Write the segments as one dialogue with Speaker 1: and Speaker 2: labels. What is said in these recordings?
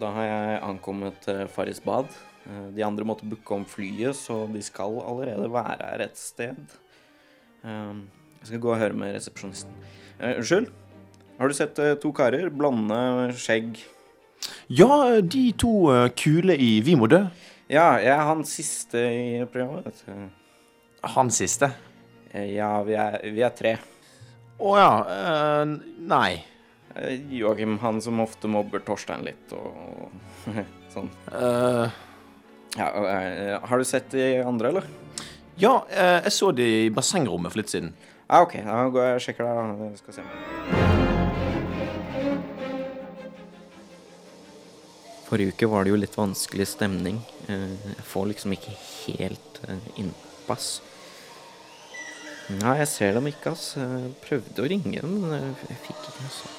Speaker 1: Da har jeg ankommet eh, Farris bad. Eh, De andre måtte booke om flyet, så de skal allerede være her et sted. Eh, Jeg skal gå og høre med resepsjonisten. Eh, Unnskyld? Har du sett eh, to karer blande skjegg?
Speaker 2: Ja, de to eh, kule i Vi må dø.
Speaker 1: Ja, jeg er han siste i programmet. vet du.
Speaker 2: Han siste.
Speaker 1: Eh, Ja, vi er, vi er tre.
Speaker 2: Å ja. eh, nei.
Speaker 1: Eh, Joakim, han som ofte mobber Torstein litt og sånn.
Speaker 2: Eh,
Speaker 1: Ja, eh, har du sett de andre, eller?
Speaker 2: ja, eh, jeg så de i bassengrommet for litt siden.
Speaker 1: Ja, Ah, OK. Da går jeg og sjekker det. da. Jeg Skal se. Forrige uke var det jo litt vanskelig stemning. Eh, Jeg får liksom ikke helt eh, innpass. Nei, jeg ser dem ikke, ass. Jeg prøvde å ringe dem, men jeg- jeg fikk ikke noe svar.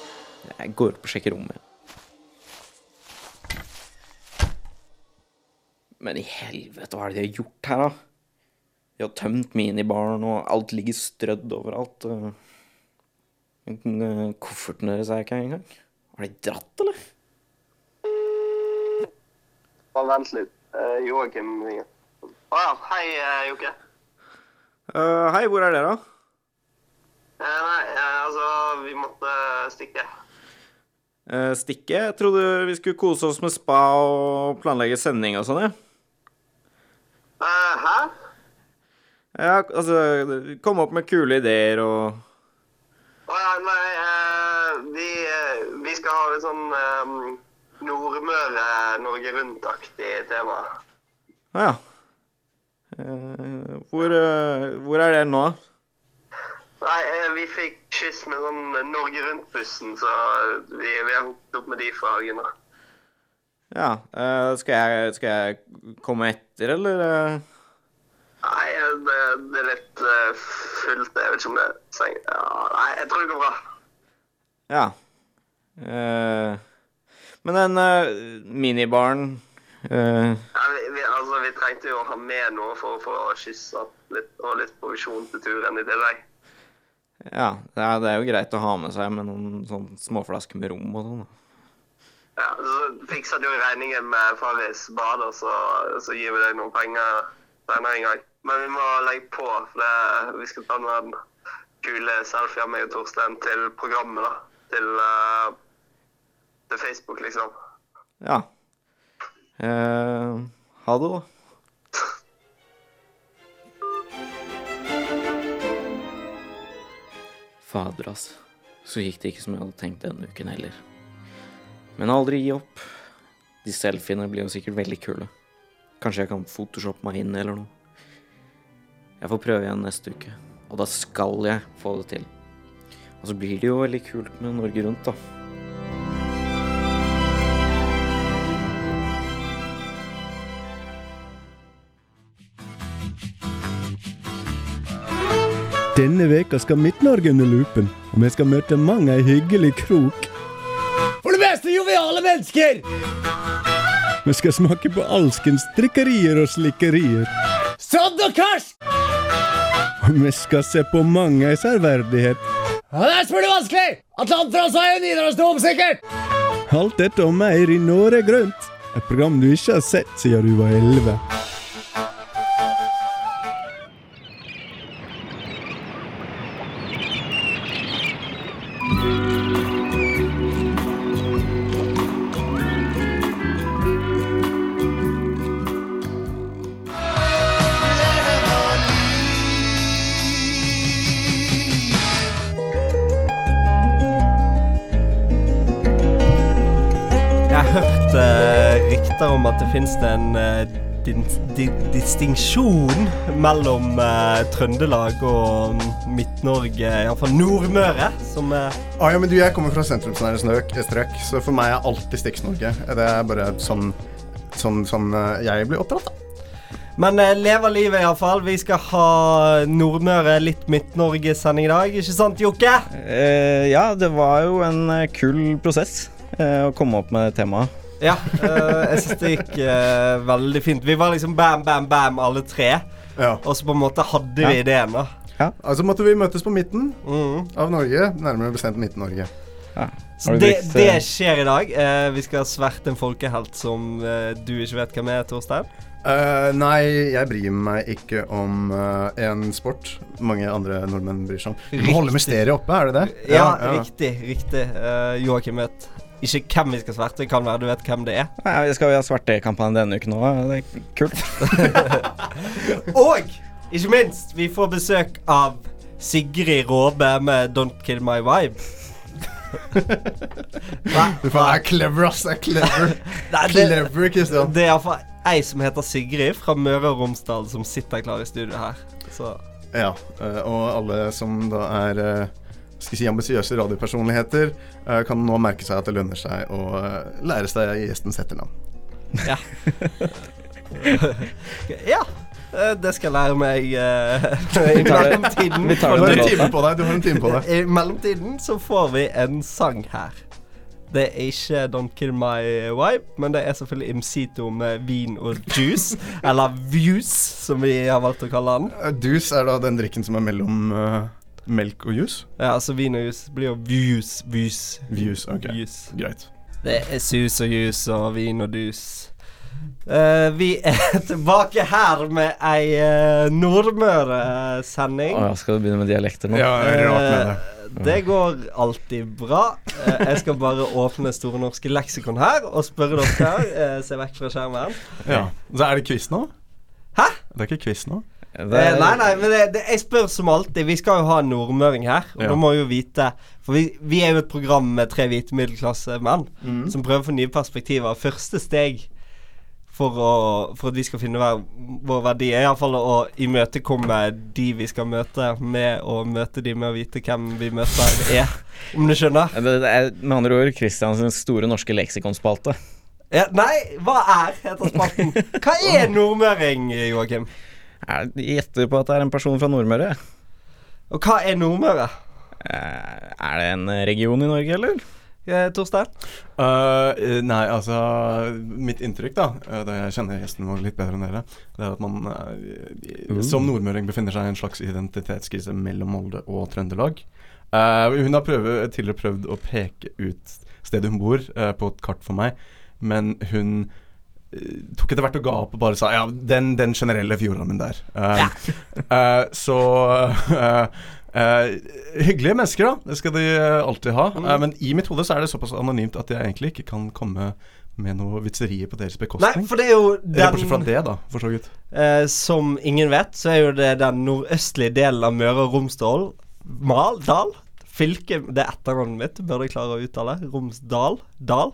Speaker 1: Jeg går opp og sjekker rommet. Men i helvete, hva er det de har gjort her, da? De har tømt minibaren, og alt ligger strødd overalt. og- Men, eh, Kofferten deres er ikke her engang. Har de dratt, eller?
Speaker 3: Bare vent litt. Eh, Joakim ringer. Å ja. Hei, eh, Jokke.
Speaker 1: hei, hvor er dere, da?
Speaker 3: Eh, nei, eh, altså Vi måtte stikke.
Speaker 1: stikke? Eh, Jeg trodde vi skulle kose oss med spa og planlegge sending og sånn, ja.
Speaker 3: Eh, hæ?
Speaker 1: Ja, altså Komme opp med kule ideer og
Speaker 3: Å ja, nei eh, vi, eh, vi skal ha litt sånn eh, Nordmøre-Norge Rundt-aktig tema.
Speaker 1: Ja. Eh, hvor, hvor er dere nå?
Speaker 3: Nei, eh, vi fikk kyss med sånn Norge Rundt-bussen, så vi, vi har hooket opp med de fra hagen. da.
Speaker 1: Ja. eh, skal, jeg, komme etter, eller? eh?
Speaker 3: Nei, eh, det, det er litt eh, fullt. Jeg vet ikke om det trenger ja, Nei, jeg tror det går bra.
Speaker 1: Ja. Eh, men den eh, minibaren eh,
Speaker 3: Ja, vi, vi, altså, vi trengte jo å ha med noe for å få kyssa litt, og litt provisjon til turen i tillegg.
Speaker 1: Ja, det er, det er jo greit å ha med seg med noen sånn småflasker med rom og sånn. da.
Speaker 3: Ja, så fikset jo regningen med Farris bad, og så, så gir vi deg noen penger senere en gang. Men vi må legge på, for det, vi skal ta noen kule selfier med meg og Torstein til programmet, da. Til, eh, til Facebook, liksom.
Speaker 1: Ja. Eh, ha det, da. Fader, altså. Så gikk det ikke som jeg hadde tenkt denne uken heller. Men aldri gi opp. De selfiene blir jo sikkert veldig kule. Kanskje jeg kan photoshoppe meg inn eller noe. Jeg får prøve igjen neste uke, og da skal jeg få det til. Og så blir det jo veldig kult med Norge Rundt, da.
Speaker 4: Denne veka skal Midt-Norge under lupen, og vi skal møte mang ei hyggelig krok.
Speaker 5: For det meste joviale mennesker!
Speaker 4: Vi skal smake på alskens drikkerier og slikkerier.
Speaker 5: Sand og karsk!
Speaker 4: Og vi skal se på mang ei særverdighet.
Speaker 5: Ja, det er selvfølgelig vanskelig! Atlanterhavs er jo Nidarosdom, sikkert!
Speaker 4: Alt dette og mer i Norge Grønt. Et program du ikke har sett siden du var elleve.
Speaker 6: Jeg har hørt eh, rykter om at det finnes en eh, din, di, distinksjon mellom eh, Trøndelag og Midt-Norge, iallfall Nordmøre, som eh, er
Speaker 7: Ah, ja, men du, Jeg kommer fra sentrumsnære strøk, strøk, så for meg er alltid Stikks-Norge. Det er bare sånn, sånn, sånn eh, jeg blir oppdratt. da.
Speaker 6: Men eh, lever livet, iallfall. Vi skal ha Nordmøre, litt Midt-Norge-sending i dag. Ikke sant, Jokke?
Speaker 1: Eh, ja, det var jo en eh, kul prosess eh, å komme opp med temaet.
Speaker 6: Ja. eh, jeg syns det gikk eh, veldig fint. Vi var liksom bam, bam, bam, alle tre.
Speaker 7: Ja.
Speaker 6: Og så på en måte hadde vi ideen, da.
Speaker 7: Altså måtte vi møtes på midten
Speaker 6: Mm.
Speaker 7: av Norge, nærmere bestemt Midt-Norge.
Speaker 6: Så
Speaker 8: Har du
Speaker 6: det,
Speaker 8: brukt,
Speaker 6: det
Speaker 8: eh,
Speaker 6: skjer i dag. Eh, vi skal sverte en folkehelt som eh, du ikke vet hvem er, Torstein.
Speaker 7: Eh, nei, jeg bryr meg ikke om eh, en sport mange andre nordmenn bryr seg om. Du må holde
Speaker 6: Riktig.
Speaker 7: mysteriet oppe, er det det?
Speaker 6: Ja, riktig. riktig. Eh, Joakim vet ikke hvem vi skal sverte. Kan være du vet hvem det er.
Speaker 8: Nei, vi skal jo ha svartekampanje denne uken òg. Det er kult.
Speaker 6: Og ikke minst, vi får besøk av Sigrid Råbe med 'Don't Kill My Vibe'. Hva?
Speaker 7: Du faen er clever, ass. Er clever,
Speaker 6: Nei, det,
Speaker 7: clever Christian.
Speaker 6: det er iallfall ei som heter Sigrid fra Møre og Romsdal, som sitter klar i studio her. Så
Speaker 7: Ja, eh, og alle som da er eh, skal jeg si ambisiøse radiopersonligheter, eh, kan nå merke seg at det lønner seg å eh, lære seg gjestens etternavn.
Speaker 6: ja. eh, Det skal jeg lære meg eh, i
Speaker 8: Vi tar det-
Speaker 6: mellomtiden.
Speaker 8: vi tar
Speaker 7: Du
Speaker 8: det
Speaker 7: har en
Speaker 8: med
Speaker 7: time
Speaker 8: låta.
Speaker 7: på deg. du har en time på deg
Speaker 6: I mellomtiden så får vi en sang her. Det er ikke Don't Kill My Vibe, men det er selvfølgelig Imsito med vin og juice. eller Views, som vi har valgt å kalle den.
Speaker 7: Eh, Juice er da den drikken som er mellom eh, melk og juice.
Speaker 6: Ja, altså vin og juice blir jo views. Views.
Speaker 7: Views, ok.
Speaker 6: Views.
Speaker 7: Greit.
Speaker 6: Det er sus og jus og vin og dus. Eh, vi er tilbake her med ei eh, Nordmøre-sending.
Speaker 8: Å, skal du begynne med dialekter nå?
Speaker 7: Ja, rart med det.
Speaker 6: Eh, Det går alltid bra. Eh, Jeg skal bare åpne Store norske leksikon her og spørre dere. eh, Se vekk fra skjermen.
Speaker 7: Ja. Så er det quiz nå?
Speaker 6: Hæ?
Speaker 7: Det er ikke quiz nå?
Speaker 8: Det
Speaker 6: Eh,
Speaker 8: er-
Speaker 6: Nei, nei, men det, det, jeg spør som alltid. Vi skal jo ha en nordmøring her. Og
Speaker 7: Ja.
Speaker 6: da må vi jo vite For vi, vi er jo et program med tre hvite middelklassemenn
Speaker 8: Mm.
Speaker 6: som prøver å få nye perspektiver. Første steg for, å, for at vi skal finne hver, vår verdi, er iallfall å imøtekomme de vi skal møte, med å møte de med å vite hvem vi møter er. Om du skjønner?
Speaker 8: Det det er med andre ord Kristiansens store norske leksikonspalte.
Speaker 6: Ja, nei, hva er heter spalten? Hva er nordmøring, Joakim?
Speaker 8: Jeg gjetter på at det er en person fra Nordmøre.
Speaker 6: Og hva er Nordmøre?
Speaker 8: Eh, Er det en region i Norge, eller?
Speaker 6: Eh, Torstein?
Speaker 7: Eh, nei, altså Mitt inntrykk, da, eh, da jeg kjenner gjesten vår litt bedre enn dere, det er at man eh, i- som nordmøring befinner seg i en slags identitetskrise mellom Molde og Trøndelag. Eh, hun har prøve, tidligere prøvd å peke ut stedet hun bor, eh, på et kart for meg, men hun eh, tok etter hvert og ga opp og bare sa ja, den, den generelle fjordarmen der. Eh, eh, så eh, eh, Hyggelige mennesker, da. Det skal de eh, alltid ha.
Speaker 6: Mm.
Speaker 7: Eh, men i mitt hode så er det såpass anonymt at jeg egentlig ikke kan komme med noe vitserier på deres
Speaker 6: Nei,
Speaker 7: bekostning.
Speaker 6: for det er jo
Speaker 7: Eh, Bortsett fra
Speaker 6: den
Speaker 7: det, da, for så vidt.
Speaker 6: eh, Som ingen vet, så er jo det den nordøstlige delen av Møre og Romsdal. Mal? Dal? Fylke Det er etternavnet mitt, bør jeg klare å uttale. Romsdal? Dal?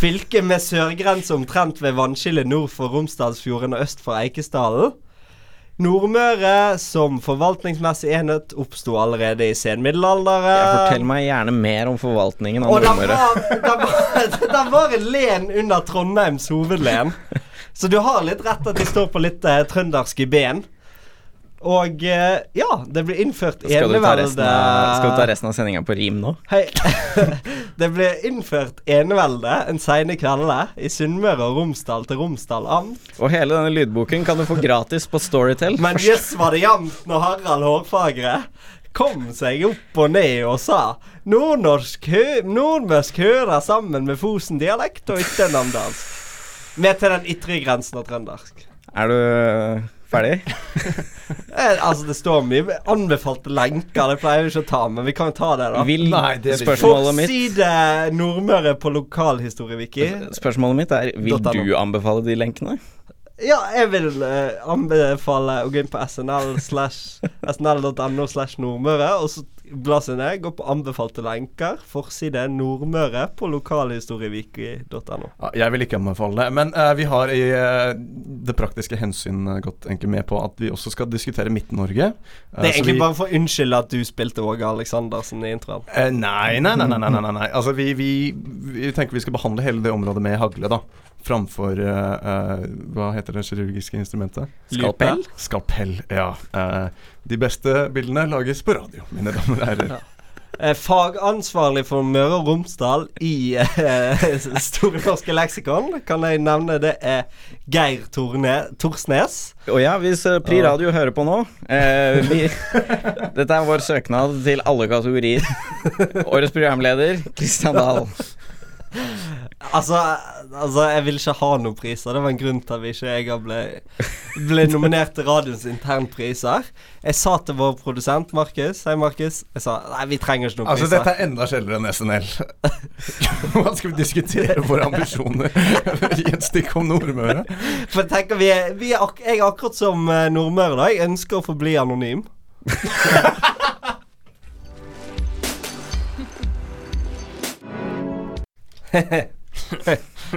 Speaker 6: Fylke med sørgrense omtrent ved vannskillet nord for Romsdalsfjorden og øst for Eikesdalen. Nordmøre som forvaltningsmessig enhet oppsto allerede i
Speaker 8: Jeg
Speaker 6: senmiddelalderen.
Speaker 8: fortell meg gjerne mer om forvaltningen av
Speaker 6: Og den
Speaker 8: Nordmøre.
Speaker 6: var, den, var, den var en len under Trondheims hovedlen. Så du har litt rett at de står på litt eh, trøndersk i ben. Og eh, ja, det ble innført
Speaker 8: Skal du ta
Speaker 6: enevelde
Speaker 8: resten av, skal du ta resten av sendinga på rim nå?
Speaker 6: Hei. det ble innført enevelde en seine kvelde i Sunnmøre og Romsdal til Romsdal amt.
Speaker 8: Og hele denne lydboken kan du få gratis på Storytel.
Speaker 6: Men jøss var det jevnt når Harald Hårfagre kom seg opp og ned og sa Nordnorsk hø nordmørsk hører sammen med Fosen-dialekt og ytternamdalsk. Med til den ytre grensen av trøndersk.
Speaker 8: Er du ferdig?
Speaker 6: Eh, altså, det står mye anbefalte lenker, det pleier vi ikke å ta, men vi kan jo ta det, da.
Speaker 8: Vil spørsmålet mitt
Speaker 6: Forside Nordmøre på lokalhistorie-wiki.
Speaker 8: Spørsmålet mitt er Vil
Speaker 6: .no.
Speaker 8: du anbefale de lenkene?
Speaker 6: Ja, jeg vil eh, anbefale å gå inn på snl slash snl.no slash Nordmøre, og så bla seg ned. Gå på anbefalte lenker. Forside Nordmøre på lokalhistorieviki.no.
Speaker 7: Ja, jeg vil ikke anbefale det. Men eh, vi har i eh, det praktiske hensyn eh, gått egentlig med på at vi også skal diskutere Midt-Norge. Eh,
Speaker 6: Det er
Speaker 7: så
Speaker 6: egentlig
Speaker 7: vi-
Speaker 6: bare for å unnskylde at du spilte Åge Aleksandersen i introen.
Speaker 7: Eh, nei, nei, nei, nei, nei, nei, nei, nei. Altså, vi, vi, vi tenker vi skal behandle hele det området med hagle, da. Framfor eh, eh, Hva heter det kirurgiske instrumentet?
Speaker 8: Skalpell?
Speaker 7: Skalpell, ja. Eh, de beste bildene lages på radio, mine damer og herrer.
Speaker 6: eh, fagansvarlig for Møre og Romsdal i eh, Store norske leksikon, kan jeg nevne det er Geir Torne, Torsnes.
Speaker 8: Og ja, hvis eh, Pri Radio hører på nå eh, vi, Dette er vår søknad til alle kategorier. Årets programleder, Kristian Dahl.
Speaker 6: Altså, altså, jeg vil ikke ha noen priser. Det var en grunn til at vi ikke jeg ble, ble nominert til radioens internpriser. Jeg sa til vår produsent Markus Hei, Markus. Jeg sa nei, vi trenger ikke noen
Speaker 7: Altså,
Speaker 6: priser.
Speaker 7: dette er enda sjeldnere enn SNL. Hva skal vi diskutere våre ambisjoner i et stykke om Nordmøre?
Speaker 6: For jeg tenker vi er, vi er ak jeg er akkurat som eh, Nordmøre, da. Jeg ønsker å forbli anonym.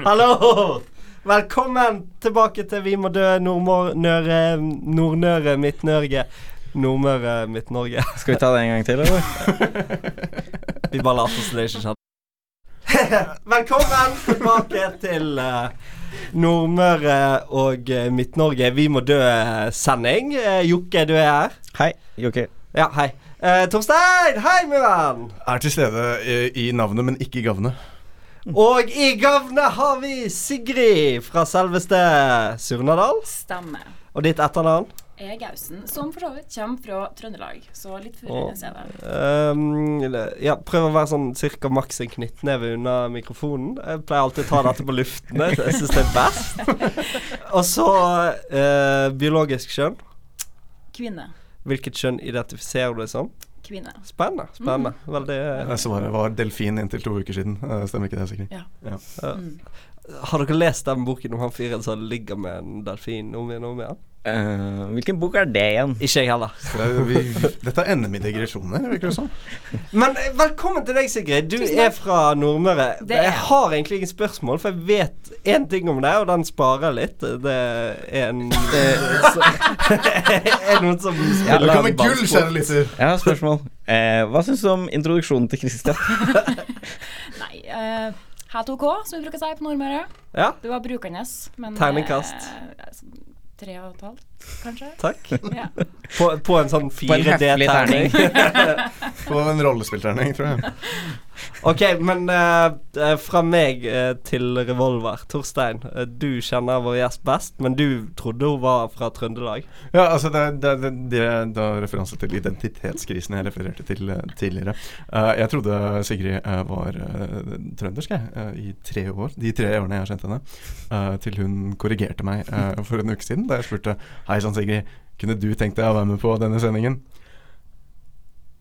Speaker 6: Hallo! Velkommen tilbake til Vi må dø, Nordmøre, Nordnøre, Midt-Norge. Nordmøre, Midt-Norge.
Speaker 8: Skal vi ta det en gang til, eller?
Speaker 6: Vi bare later som det ikke skjedde. Velkommen tilbake til eh, Nordmøre og eh, Midt-Norge. Vi må dø-sending. Eh, Jokke, du er her.
Speaker 8: Hei, Jokke.
Speaker 6: Ja, hei. Eh, Torstein, hei, min venn.
Speaker 7: Er til stede eh, i navnet, men ikke i gavnet.
Speaker 6: Og i gavnet har vi Sigrid fra selveste Surnadal.
Speaker 9: Stemmer.
Speaker 6: Og ditt etternavn?
Speaker 9: Jeg er Gausen, som for så vidt kommer fra Trøndelag, så litt forvirrende ser jeg det.
Speaker 6: Ehm, eller- ja, prøv å være sånn cirka maks en knyttneve unna mikrofonen. Jeg pleier alltid å ta dette på luften. Jeg syns det er best. Og så eh, biologisk kjønn.
Speaker 9: Kvinne.
Speaker 6: Hvilket kjønn identifiserer du deg som?
Speaker 9: Kvinne.
Speaker 6: Spennende. spennende Veldig
Speaker 7: Eh, Svaret var delfin inntil to uker siden. Eh, Stemmer ikke det, sikkert?
Speaker 9: Ja.
Speaker 6: Har dere lest den boken om han fyren som ligger med en delfin om igjen og om igjen?
Speaker 8: Eh, hvilken bok er det igjen?
Speaker 6: Ikke jeg heller.
Speaker 7: Det er- vi, vi, dette ender med digresjoner, virker det som.
Speaker 6: Men eh, velkommen til deg, Sigrid. Du
Speaker 9: Tusen takk.
Speaker 6: er fra Nordmøre.
Speaker 9: Det er
Speaker 6: Jeg
Speaker 9: jeg.
Speaker 6: har egentlig ingen spørsmål, for jeg vet én ting om deg, og den sparer litt. Det er en Er det noen som
Speaker 7: Ja,
Speaker 6: spiller
Speaker 7: du kan med
Speaker 6: ballsport?
Speaker 7: gull, kjære lytter!
Speaker 8: Jeg har et spørsmål. Eh, hva syns du om introduksjonen til Kristian?
Speaker 9: Nei, eh, helt OK, som vi bruker å si på Nordmøre.
Speaker 6: Ja,
Speaker 9: Det var brukende, men eh,
Speaker 6: Terningkast.
Speaker 9: altså, Tre og et halvt, kanskje?
Speaker 6: takk.
Speaker 9: Ja.
Speaker 6: På, på en sånn
Speaker 8: På en høflig
Speaker 6: 4D-terning.
Speaker 8: terning.
Speaker 7: På en rollespillterning, tror jeg.
Speaker 6: Ok, men eh, eh, fra meg eh, til Revolver. Torstein, eh, du kjenner vår gjest best, men du trodde hun var fra Trøndelag.
Speaker 7: Ja, altså det, er- det, er- det, det er da referanse til identitetskrisen jeg refererte til eh, tidligere. Eh, jeg trodde Sigrid eh, var eh, trøndersk jeg, eh, i tre år, de tre årene jeg har kjent henne. eh, til hun korrigerte meg eh, for en uke siden da jeg spurte Hei sann, Sigrid, kunne du tenkt deg å være med på denne sendingen?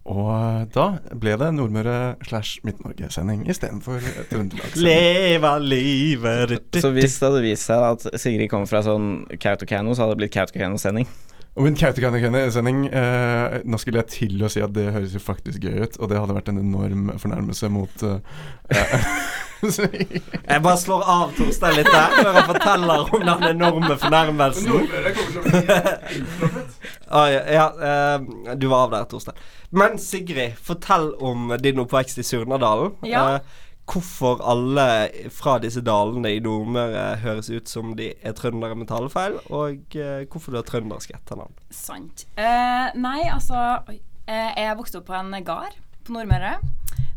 Speaker 7: Og da ble det Nordmøre slash Midt-Norge-sending istedenfor Trøndelag.
Speaker 6: Leve livet ditt.
Speaker 8: Så hvis det hadde vist seg at Sigrid kom fra sånn Kautokeino, så hadde det blitt Kautokeino-sending.
Speaker 7: Og min Kautokeino-sending eh, Nå skulle jeg til å si at det høres jo faktisk gøy ut, og det hadde vært en enorm fornærmelse mot eh,
Speaker 6: Jeg bare slår av Torstein litt der før han forteller om den enorme fornærmelsen. Ah, ja, ja, eh, du var av der, Torstein. Men Sigrid, fortell om din oppvekst i Surnadalen.
Speaker 9: Ja.
Speaker 6: Eh, hvorfor alle fra disse dalene i Nordmøre høres ut som de er trøndere med talefeil, og eh, hvorfor du har trøndersk etternavn.
Speaker 9: Sant. Eh, nei, altså oi, eh, Jeg vokste opp på en gard på Nordmøre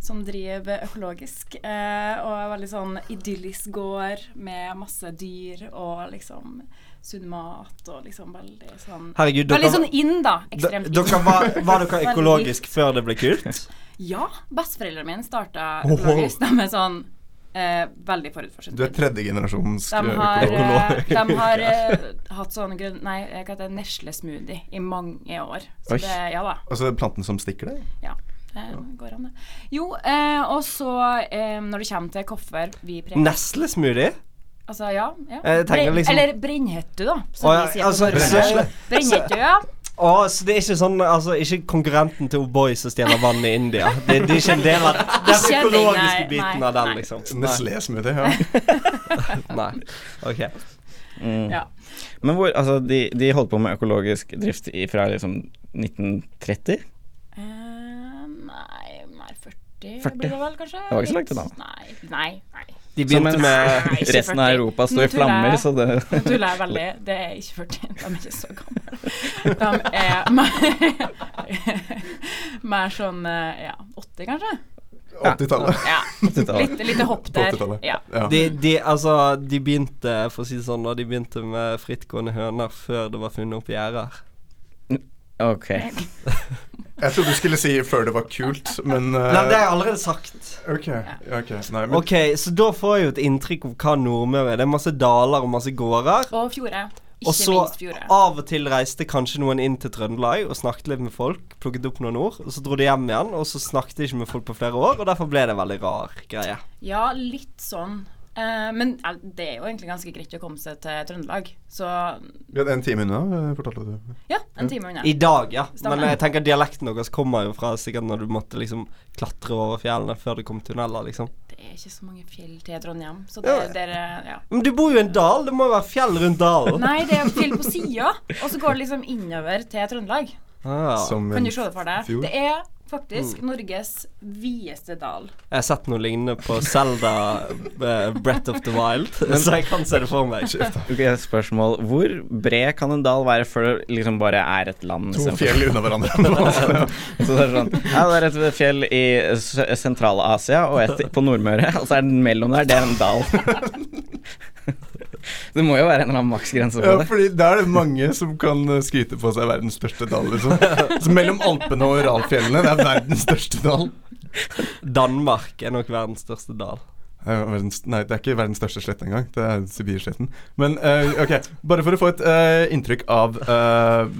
Speaker 9: som driver økologisk. eh, og er veldig sånn idyllisk gård med masse dyr og liksom sunn mat og liksom veldig sånn
Speaker 6: Herregud,
Speaker 9: Veldig
Speaker 6: dere,
Speaker 9: sånn inn, da.
Speaker 6: d-
Speaker 9: Ekstremt
Speaker 6: dere var, var dere
Speaker 9: Veldig.
Speaker 6: økologisk før det ble kult?
Speaker 9: Ja. Besteforeldrene mine starta økologisk. De er sånn eh, veldig forut for sin
Speaker 7: Du er
Speaker 9: tid.
Speaker 7: tredjegenerasjons
Speaker 9: De har, eh,
Speaker 7: økolog.
Speaker 9: de har eh, hatt sånn grønn... Nei, hva heter det? Neslesmoothie i mange år.
Speaker 8: Oi.
Speaker 9: Så det, ja da.
Speaker 7: Altså planten som stikker deg?
Speaker 9: Ja, det går an, det. Jo, eh, og så eh, når det kommer til hvorfor vi preker
Speaker 6: Neslesmoothie?
Speaker 9: Altså, ja. ja.
Speaker 6: Jeg tenker
Speaker 9: Brenn-
Speaker 6: liksom-
Speaker 9: Eller brennhettu, da. Som
Speaker 6: Å, ja,
Speaker 9: vi sier
Speaker 6: altså,
Speaker 9: på
Speaker 6: så-
Speaker 9: Nordmøre. Brennhettu, ja.
Speaker 6: Å, så det er ikke sånn Altså, ikke konkurrenten til O'boy som stjeler vann i India. Det, det er ikke en del av den
Speaker 9: Ikke en ting,
Speaker 6: psykologiske
Speaker 9: nei,
Speaker 6: biten
Speaker 9: nei,
Speaker 6: av den,
Speaker 9: nei.
Speaker 6: liksom.
Speaker 7: Nestlé-smoothie, ja.
Speaker 6: Nei. Ok. Mm.
Speaker 9: ja.
Speaker 8: Men hvor, altså, de, de holdt på med økologisk drift i- fra liksom 1930?
Speaker 9: Eh, nei, nei 40,
Speaker 8: 40.
Speaker 9: blir det vel, kanskje?
Speaker 8: var ikke så langt unna.
Speaker 9: Nei, nei. nei.
Speaker 6: De
Speaker 8: Så
Speaker 6: begynte
Speaker 8: mens
Speaker 6: med
Speaker 9: Nei, ikke
Speaker 8: resten av
Speaker 9: 40.
Speaker 8: Europa står
Speaker 9: Nå
Speaker 8: i flammer, så
Speaker 9: tuller
Speaker 8: det
Speaker 9: jeg. Nå tuller jeg veldig. Det er ikke 40. De er ikke så gamle. De er mer, mer sånn eh, ja, 80, kanskje?
Speaker 7: 80-tallet.
Speaker 9: Ja. Litt, litt hopp der.
Speaker 7: 80-tallet.
Speaker 9: Ja.
Speaker 7: Ja.
Speaker 6: de, de, altså, de begynte for å si det sånn, da, de begynte med frittgående høner før det var funnet opp gjerder.
Speaker 8: Ok.
Speaker 7: Jeg trodde du skulle si før det var kult, men eh,
Speaker 6: Nei, det har jeg allerede sagt.
Speaker 7: Ok. ok Nei, men
Speaker 6: Ok, Så da får jeg jo et inntrykk av hva Nordmøre er. Det er masse daler og masse gårder.
Speaker 9: Og fjorder. Ikke
Speaker 6: Og så
Speaker 9: minst fjorder.
Speaker 6: av og til reiste kanskje noen inn til Trøndelag og snakket litt med folk. Plukket opp noen ord, og så dro de hjem igjen, og så snakket de ikke med folk på flere år, og derfor ble det en veldig rar greie.
Speaker 9: Ja, litt sånn. Eh, men eh, det er jo egentlig ganske greit å komme seg til Trøndelag. Så
Speaker 7: Vi hadde en time unna, eh, fortalte du.
Speaker 9: ja, en time unna.
Speaker 6: I dag, ja.
Speaker 9: Stemmer.
Speaker 6: Men jeg tenker dialekten deres kommer jo fra sikkert når du måtte liksom klatre over fjellene før det kom tunneler, liksom.
Speaker 9: Det er ikke så mange fjell til Trondheim, så det, dere ja.
Speaker 6: Men du bor jo i en dal, det må jo være fjell rundt dalen.
Speaker 9: Nei, det er fjell på sida, og så går det liksom innover til Trøndelag.
Speaker 6: Ah,
Speaker 7: Som
Speaker 9: Kan du se det for deg?
Speaker 7: fjord.
Speaker 9: Det er faktisk Norges videste dal.
Speaker 6: jeg har sett noe lignende på Zelda eh, Breath of the Wild, så jeg kan se det for meg.
Speaker 8: Ok, et spørsmål. Hvor bred kan en dal være før det liksom bare er et land?
Speaker 7: to
Speaker 8: istedenfor-
Speaker 7: fjell unna hverandre.
Speaker 8: Så det er sånn Ja, det er et fjell i S- Sentral-Asia og et på Nordmøre, og så er den mellom der, det er en dal. Det må jo være en eller annen maksgrense
Speaker 7: ja,
Speaker 8: på det.
Speaker 7: fordi der er det mange som kan eh, skryte på seg verdens største dal, liksom. Så mellom Alpene og Uralfjellene, det er verdens største dal.
Speaker 6: Danmark er nok verdens største dal.
Speaker 7: Det er jo Verdens, nei, det er ikke verdens største slett engang. Det er Sibirsletten. Men eh, ok, bare for å få et eh, inntrykk av eh,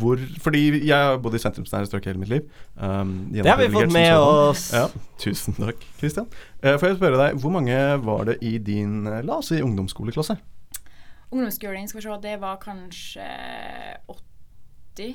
Speaker 7: hvor Fordi jeg har bodd i sentrumsnære strøk hele mitt liv. Um,
Speaker 6: Det har vi fått med oss.
Speaker 7: Ja, tusen takk, Christian. Eh, får jeg spørre deg, hvor mange var det i din eh, la oss si ungdomsskoleklasse?
Speaker 9: Ungdomsskolen, skal vi se, det var kanskje 80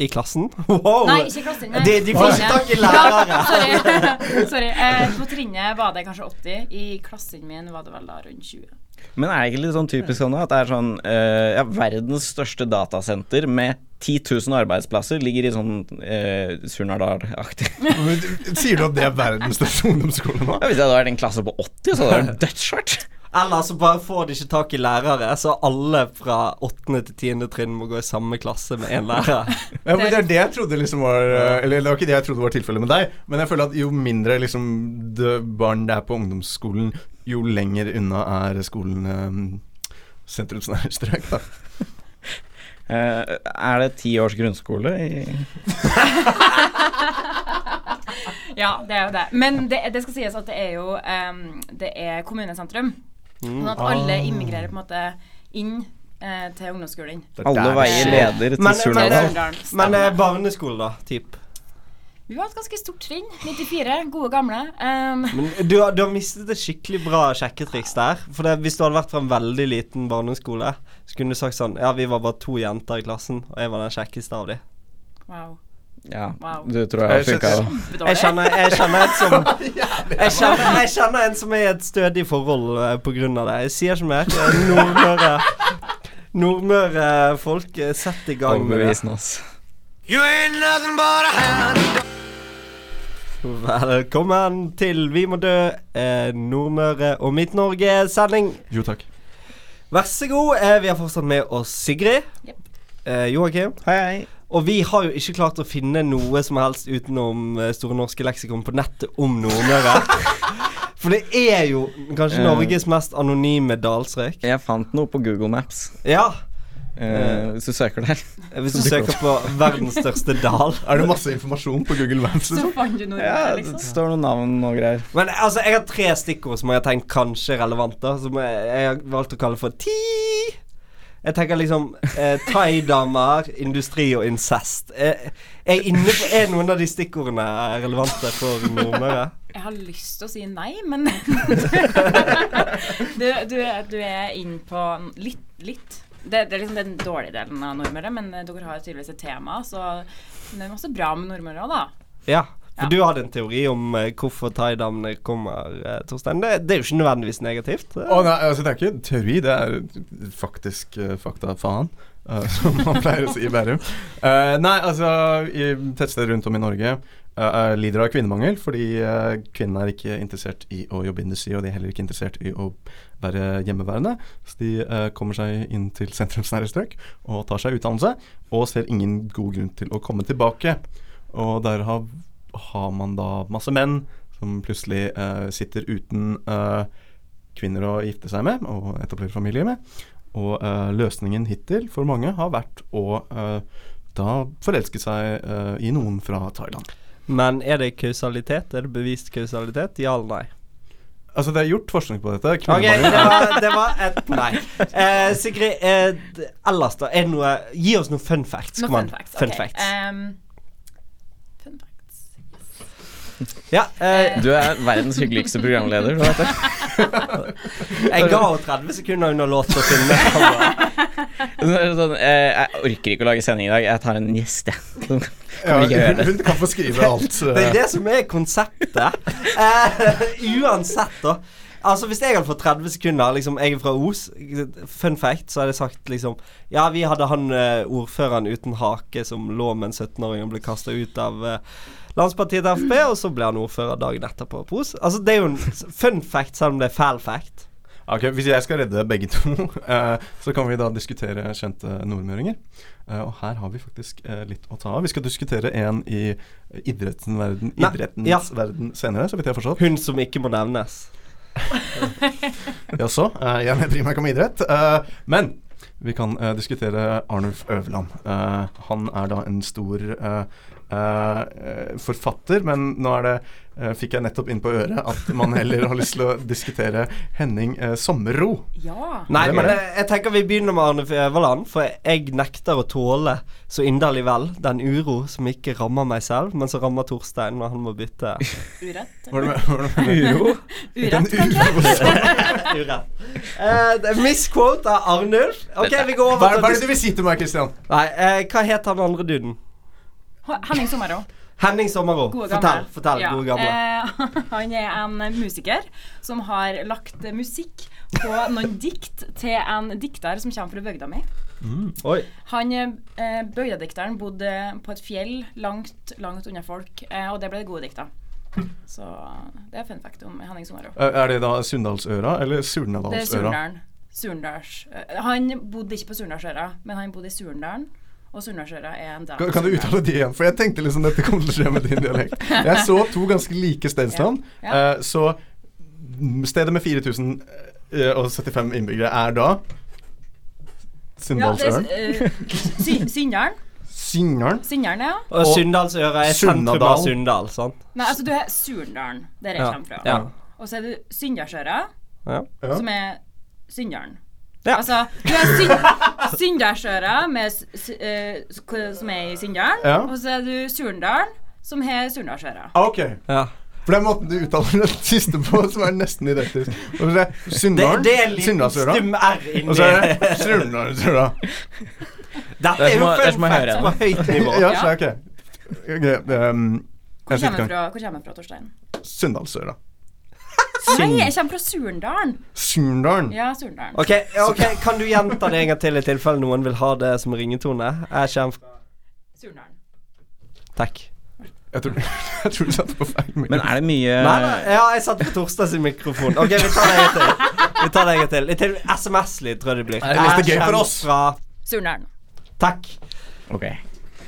Speaker 6: I klassen? Wow!
Speaker 9: Nei, ikke klassen. Nei.
Speaker 6: De- de får ikke tak i lærere.
Speaker 9: Ja, sorry. sorry. Eh, på trinnet var det kanskje 80. I klassen min var det vel da rundt 20.
Speaker 8: Men er det ikke litt sånn typisk sånn at det er sånn eh, Ja, verdens største datasenter med 10 000 arbeidsplasser ligger i sånn eh, Surnadal-aktig.
Speaker 7: Sier du at det er verdens største ungdomsskole nå?
Speaker 8: Ja, hvis jeg hadde vært en klasse på 80, så hadde det vært dødsskjørt.
Speaker 6: Eller så bare får de ikke tak i lærere, så alle fra 8. til 10. trinn må gå i samme klasse med én lærer.
Speaker 7: Ja, men det er det jeg trodde liksom var eh, Eller det var ikke det jeg trodde var tilfellet med deg, men jeg føler at jo mindre liksom det barn det er på ungdomsskolen, jo lenger unna er skolen eh, sentrumsnære strøk, da.
Speaker 8: Eh, er det ti års grunnskole i
Speaker 9: Ja, det er jo det. Men det, det skal sies at det er jo em, Det er kommunesentrum.
Speaker 8: Mm.
Speaker 9: Sånn at alle immigrerer på en måte inn eh, til ungdomsskolen.
Speaker 8: Alle veier leder til
Speaker 6: Men- men-
Speaker 8: Surnadal?
Speaker 6: Men
Speaker 9: Stemmer.
Speaker 6: eh, barneskole, da? Typ.
Speaker 9: Vi var et ganske stort trinn. 94. Gode, gamle. Em,
Speaker 6: Men du, har- du har mistet et skikkelig bra sjekketriks der. For det, Hvis du hadde vært fra en veldig liten barneskole, så kunne du sagt sånn Ja, vi var bare to jenter i klassen, og jeg var den kjekkeste av de.
Speaker 9: wow.
Speaker 8: Ja,
Speaker 9: Wow.
Speaker 8: du tror jeg funka jo.
Speaker 6: Jeg
Speaker 9: Bedårlig.
Speaker 6: kjenner, jeg kjenner en som jeg kjenner, jeg kjenner en som er i et stødig forhold eh, på grunn av det. Jeg sier ikke mer. Eh, Nordmøre Nordmøre-folk, eh, sett i gang med det.
Speaker 8: Overbevisende, ass.
Speaker 6: Velkommen til Vi må dø, eh, Nordmøre og Midt-Norge-sending.
Speaker 7: Jo takk.
Speaker 6: Vær så god. Eh, vi har fortsatt med oss Sigrid.
Speaker 9: Jep.
Speaker 6: Eh, Joakim.
Speaker 8: Hei, hei.
Speaker 6: Og vi har jo ikke klart å finne noe som helst utenom eh, Store norske leksikon på nettet om Nordmøre. For det er jo kanskje
Speaker 8: Eh.
Speaker 6: Norges mest anonyme dalstrøk.
Speaker 8: Jeg fant noe på Google Maps,
Speaker 6: Ja.
Speaker 8: eh, hvis du søker der.
Speaker 6: Eh, Hvis du søker på verdens største dal.
Speaker 7: Er det masse informasjon på Google Maps?
Speaker 9: Så
Speaker 7: Liksom?
Speaker 9: fant du noe
Speaker 8: Ja,
Speaker 9: liksom.
Speaker 8: det står noen navn og greier.
Speaker 6: Men altså, jeg har tre stikkord som jeg har tenkt kanskje er relevante. Som jeg, jeg har valgt å kalle for ti. Jeg tenker liksom eh, thaidamer, industri og incest. Eh, er, inne på, er noen av de stikkordene relevante for nordmøre?
Speaker 9: Jeg har lyst til å si nei, men du, du, du er inn på litt. litt. Det, det er liksom den dårlige delen av nordmøre, men eh, dere har tydeligvis et tema, så men det er masse bra med nordmøre òg, da.
Speaker 6: Ja. For du hadde en teori om eh, hvorfor thaidamene kommer, eh, Torstein. Det, det er jo ikke nødvendigvis negativt.
Speaker 7: Å nei, altså Det er ikke teori, det er faktisk eh, fakta faen, eh, som man pleier å si i Bærum. Eh, nei, altså i tettsteder rundt om i Norge eh, eh, lider av kvinnemangel fordi uh, kvinnene er ikke interessert i å jobbe i industri, og de er heller ikke interessert i å være hjemmeværende. Så de eh, kommer seg inn til sentrumsnære strøk og tar seg utdannelse, og ser ingen god grunn til å komme tilbake. Og der har, har man da masse menn som plutselig eh, sitter uten eh, kvinner å gifte seg med og etablere familie med. Og eh, løsningen hittil for mange har vært å eh, da forelske seg eh, i noen fra Thailand.
Speaker 6: Men er det kausalitet? Er det bevist kausalitet? Ja eller nei?
Speaker 7: Altså det er gjort forskning på dette.
Speaker 6: Ok, det
Speaker 7: Kvinnemangel-
Speaker 6: var, det var et nei. Eh, Sigrid, eh, d- ellers da, er det noe Gi oss noen fun facts.
Speaker 9: Noen
Speaker 6: Kom an.
Speaker 9: fun facts.
Speaker 6: Fun
Speaker 9: ok.
Speaker 6: facts.
Speaker 9: Ehm, fun facts.
Speaker 6: Ja, eh,
Speaker 8: Du er verdens hyggeligste programleder. Du vet det.
Speaker 6: jeg ga henne 30 sekunder under låt til å finne.
Speaker 8: Det er sånn, eh, jeg orker ikke å lage sending i dag. Jeg tar en gjest, jeg.
Speaker 7: Ja,
Speaker 8: vi gjøre
Speaker 7: hun, hun kan få skrive alt.
Speaker 6: Det
Speaker 7: eh.
Speaker 6: er det som er konseptet. Eh, uansett, da. Altså Hvis jeg hadde fått 30 sekunder liksom, Jeg er fra Os. Fun fact, så hadde jeg sagt liksom Ja, vi hadde han eh, ordføreren uten hake som lå med en 17-åring og ble kasta ut av eh, landspartiet til Frp, og så ble han ordfører dagen etterpå på Os. Altså, det er jo en s- fun fact, selv om det er fæl fact.
Speaker 7: Ok, Hvis jeg skal redde begge to, eh, så kan vi da diskutere kjente nordmøringer. Eh, og her har vi faktisk eh, litt å ta av. Vi skal diskutere en i idrettens verden,
Speaker 6: Nei,
Speaker 7: idrettens
Speaker 6: ja.
Speaker 7: verden senere, så vidt jeg har forstått.
Speaker 6: Hun som ikke må nevnes.
Speaker 7: Jaså? eh, jeg bryr meg ikke om idrett. eh, men vi kan eh, diskutere Arnulf Øverland. Eh, han er da en stor eh, eh, forfatter, men nå er det eh, Fikk jeg nettopp inn på øret at man heller har lyst til å diskutere Henning eh, Sommerro.
Speaker 9: Ja.
Speaker 6: Nei,
Speaker 7: Hvem er
Speaker 6: men jeg, jeg tenker vi begynner med Arne Fjeveland, for jeg nekter å tåle så inderlig vel den uro som ikke rammer meg selv, men som rammer Torstein når han må bytte
Speaker 9: Urett.
Speaker 7: Var det med, var det med uro?
Speaker 9: Urett,
Speaker 7: En
Speaker 9: kanskje?
Speaker 7: uro.
Speaker 6: urett. Eh, det er misquote av Arnulf. Ok, vi går
Speaker 7: Hva,
Speaker 6: over
Speaker 7: hva er det
Speaker 6: til
Speaker 7: du vil si til meg, Kristian?
Speaker 6: Nei, eh, hva het han andre duden?
Speaker 9: Henning Sommerå.
Speaker 6: Henning Sommero.
Speaker 9: Gode
Speaker 6: Fortell,
Speaker 9: gamle.
Speaker 6: fortell,
Speaker 9: Ja.
Speaker 6: gode gamle.
Speaker 9: Eh, han er en musiker som har lagt musikk på noen dikt til en dikter som kommer fra bygda mi.
Speaker 6: Oi.
Speaker 9: Han eh, bygdedikteren bodde på et fjell langt, langt unna folk, eh, og det ble det gode dikta. Så det er fun fact om Henning Sommerå.
Speaker 7: Eh, Er det da Sunndalsøra eller
Speaker 9: Det er
Speaker 7: Surnadalsøra?
Speaker 9: Eh, Surndalen. Surndals. eh, Han bodde ikke på Surndalsøra, men han bodde i Surndalen, og Surndalsøra er en del
Speaker 7: Kan, kan du uttale det igjen? For jeg tenkte liksom dette kommer til å skje med din dialekt. Jeg så to ganske like stedsnavn.
Speaker 9: Ja, ja.
Speaker 7: eh, Så mm, stedet med 4075 innbyggere er da
Speaker 9: Ja, det er
Speaker 7: Sunndalsøren?
Speaker 9: eh, Sy- Syndalen.
Speaker 7: Syngeren?
Speaker 9: Syndalen, ja.
Speaker 6: Og Sunndalsøra er sentrum
Speaker 7: Sunnadal.
Speaker 6: av Sunndal, sant?
Speaker 9: Nei, altså du har Surndalen, der jeg
Speaker 6: Ja,
Speaker 9: kommer fra.
Speaker 6: ja.
Speaker 9: Og så er det Syndarsøra,
Speaker 6: Ja.
Speaker 7: Ja.
Speaker 9: som er Syndalen.
Speaker 6: Ja.
Speaker 9: Altså, du har Syn- Syndarsøra, med s- s- eh, s- k- som er i Syndalen,
Speaker 7: Ja.
Speaker 9: og så er du Surndalen, som har Surndalsøra.
Speaker 7: Ah, ok.
Speaker 6: Ja.
Speaker 7: For det er måten du uttaler det siste på, som er nesten identisk. Og så er
Speaker 6: Det,
Speaker 7: det
Speaker 6: det er en
Speaker 7: Sunndalen,
Speaker 6: liten
Speaker 7: Sunndalsøra,
Speaker 6: stum R inni
Speaker 7: og så er det Surnadalsøra.
Speaker 6: Dette
Speaker 8: Det er
Speaker 6: er
Speaker 8: som
Speaker 6: jo
Speaker 8: å- det
Speaker 6: fun
Speaker 8: er som å
Speaker 6: facts
Speaker 8: høre
Speaker 6: på høyt nivå.
Speaker 7: Ja, så er ok. Ok, ehm,
Speaker 9: Hvor
Speaker 7: jeg sitter
Speaker 9: kommer
Speaker 7: ikke
Speaker 9: jeg fra, hvor kommer jeg fra, Torstein?
Speaker 7: Sunndalsøra.
Speaker 9: Nei, jeg kommer fra Surndalen.
Speaker 7: Sunndalen.
Speaker 9: Ja, Surndalen.
Speaker 6: Ok, ok, Kan du gjenta det en gang til i tilfelle noen vil ha det som ringetone? Jeg kommer fra
Speaker 9: Surndalen.
Speaker 6: Takk.
Speaker 7: Jeg tror, jeg tror du satte på feil mail.
Speaker 8: Men er det mye
Speaker 6: Nei, nei, ja, jeg satt på Torstad sin mikrofon. Ok, vi tar det en gang til. Vi tar det en gang til. Litt til SMS-lyd, tror jeg det blir.
Speaker 7: det er litt
Speaker 6: Jeg
Speaker 7: gøy for
Speaker 6: kommer
Speaker 7: oss.
Speaker 6: fra-
Speaker 9: Surndalen.
Speaker 6: Takk.
Speaker 8: Ok.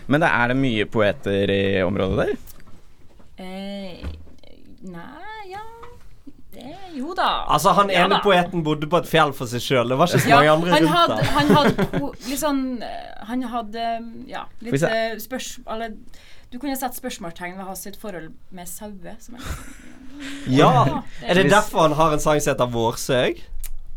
Speaker 8: Men det er det mye poeter i området der?
Speaker 9: Eh, nei, ja det, Jo da.
Speaker 6: Altså, han
Speaker 9: Ja
Speaker 6: ene
Speaker 9: da.
Speaker 6: poeten bodde på et fjell for seg sjøl. Det var ikke så
Speaker 9: Ja,
Speaker 6: mange andre
Speaker 9: han
Speaker 6: rundt
Speaker 9: hadde,
Speaker 6: der.
Speaker 9: han hadde po- litt sånn eh, Han hadde eh, ja,
Speaker 8: Hvis
Speaker 9: litt
Speaker 8: jeg-
Speaker 9: eh, spørs... Eller du kunne sett spørsmålstegn ved hans sitt forhold med sauer. som er-
Speaker 6: Ja.
Speaker 9: det,
Speaker 6: Er det derfor han har en sang som heter Vårsøg?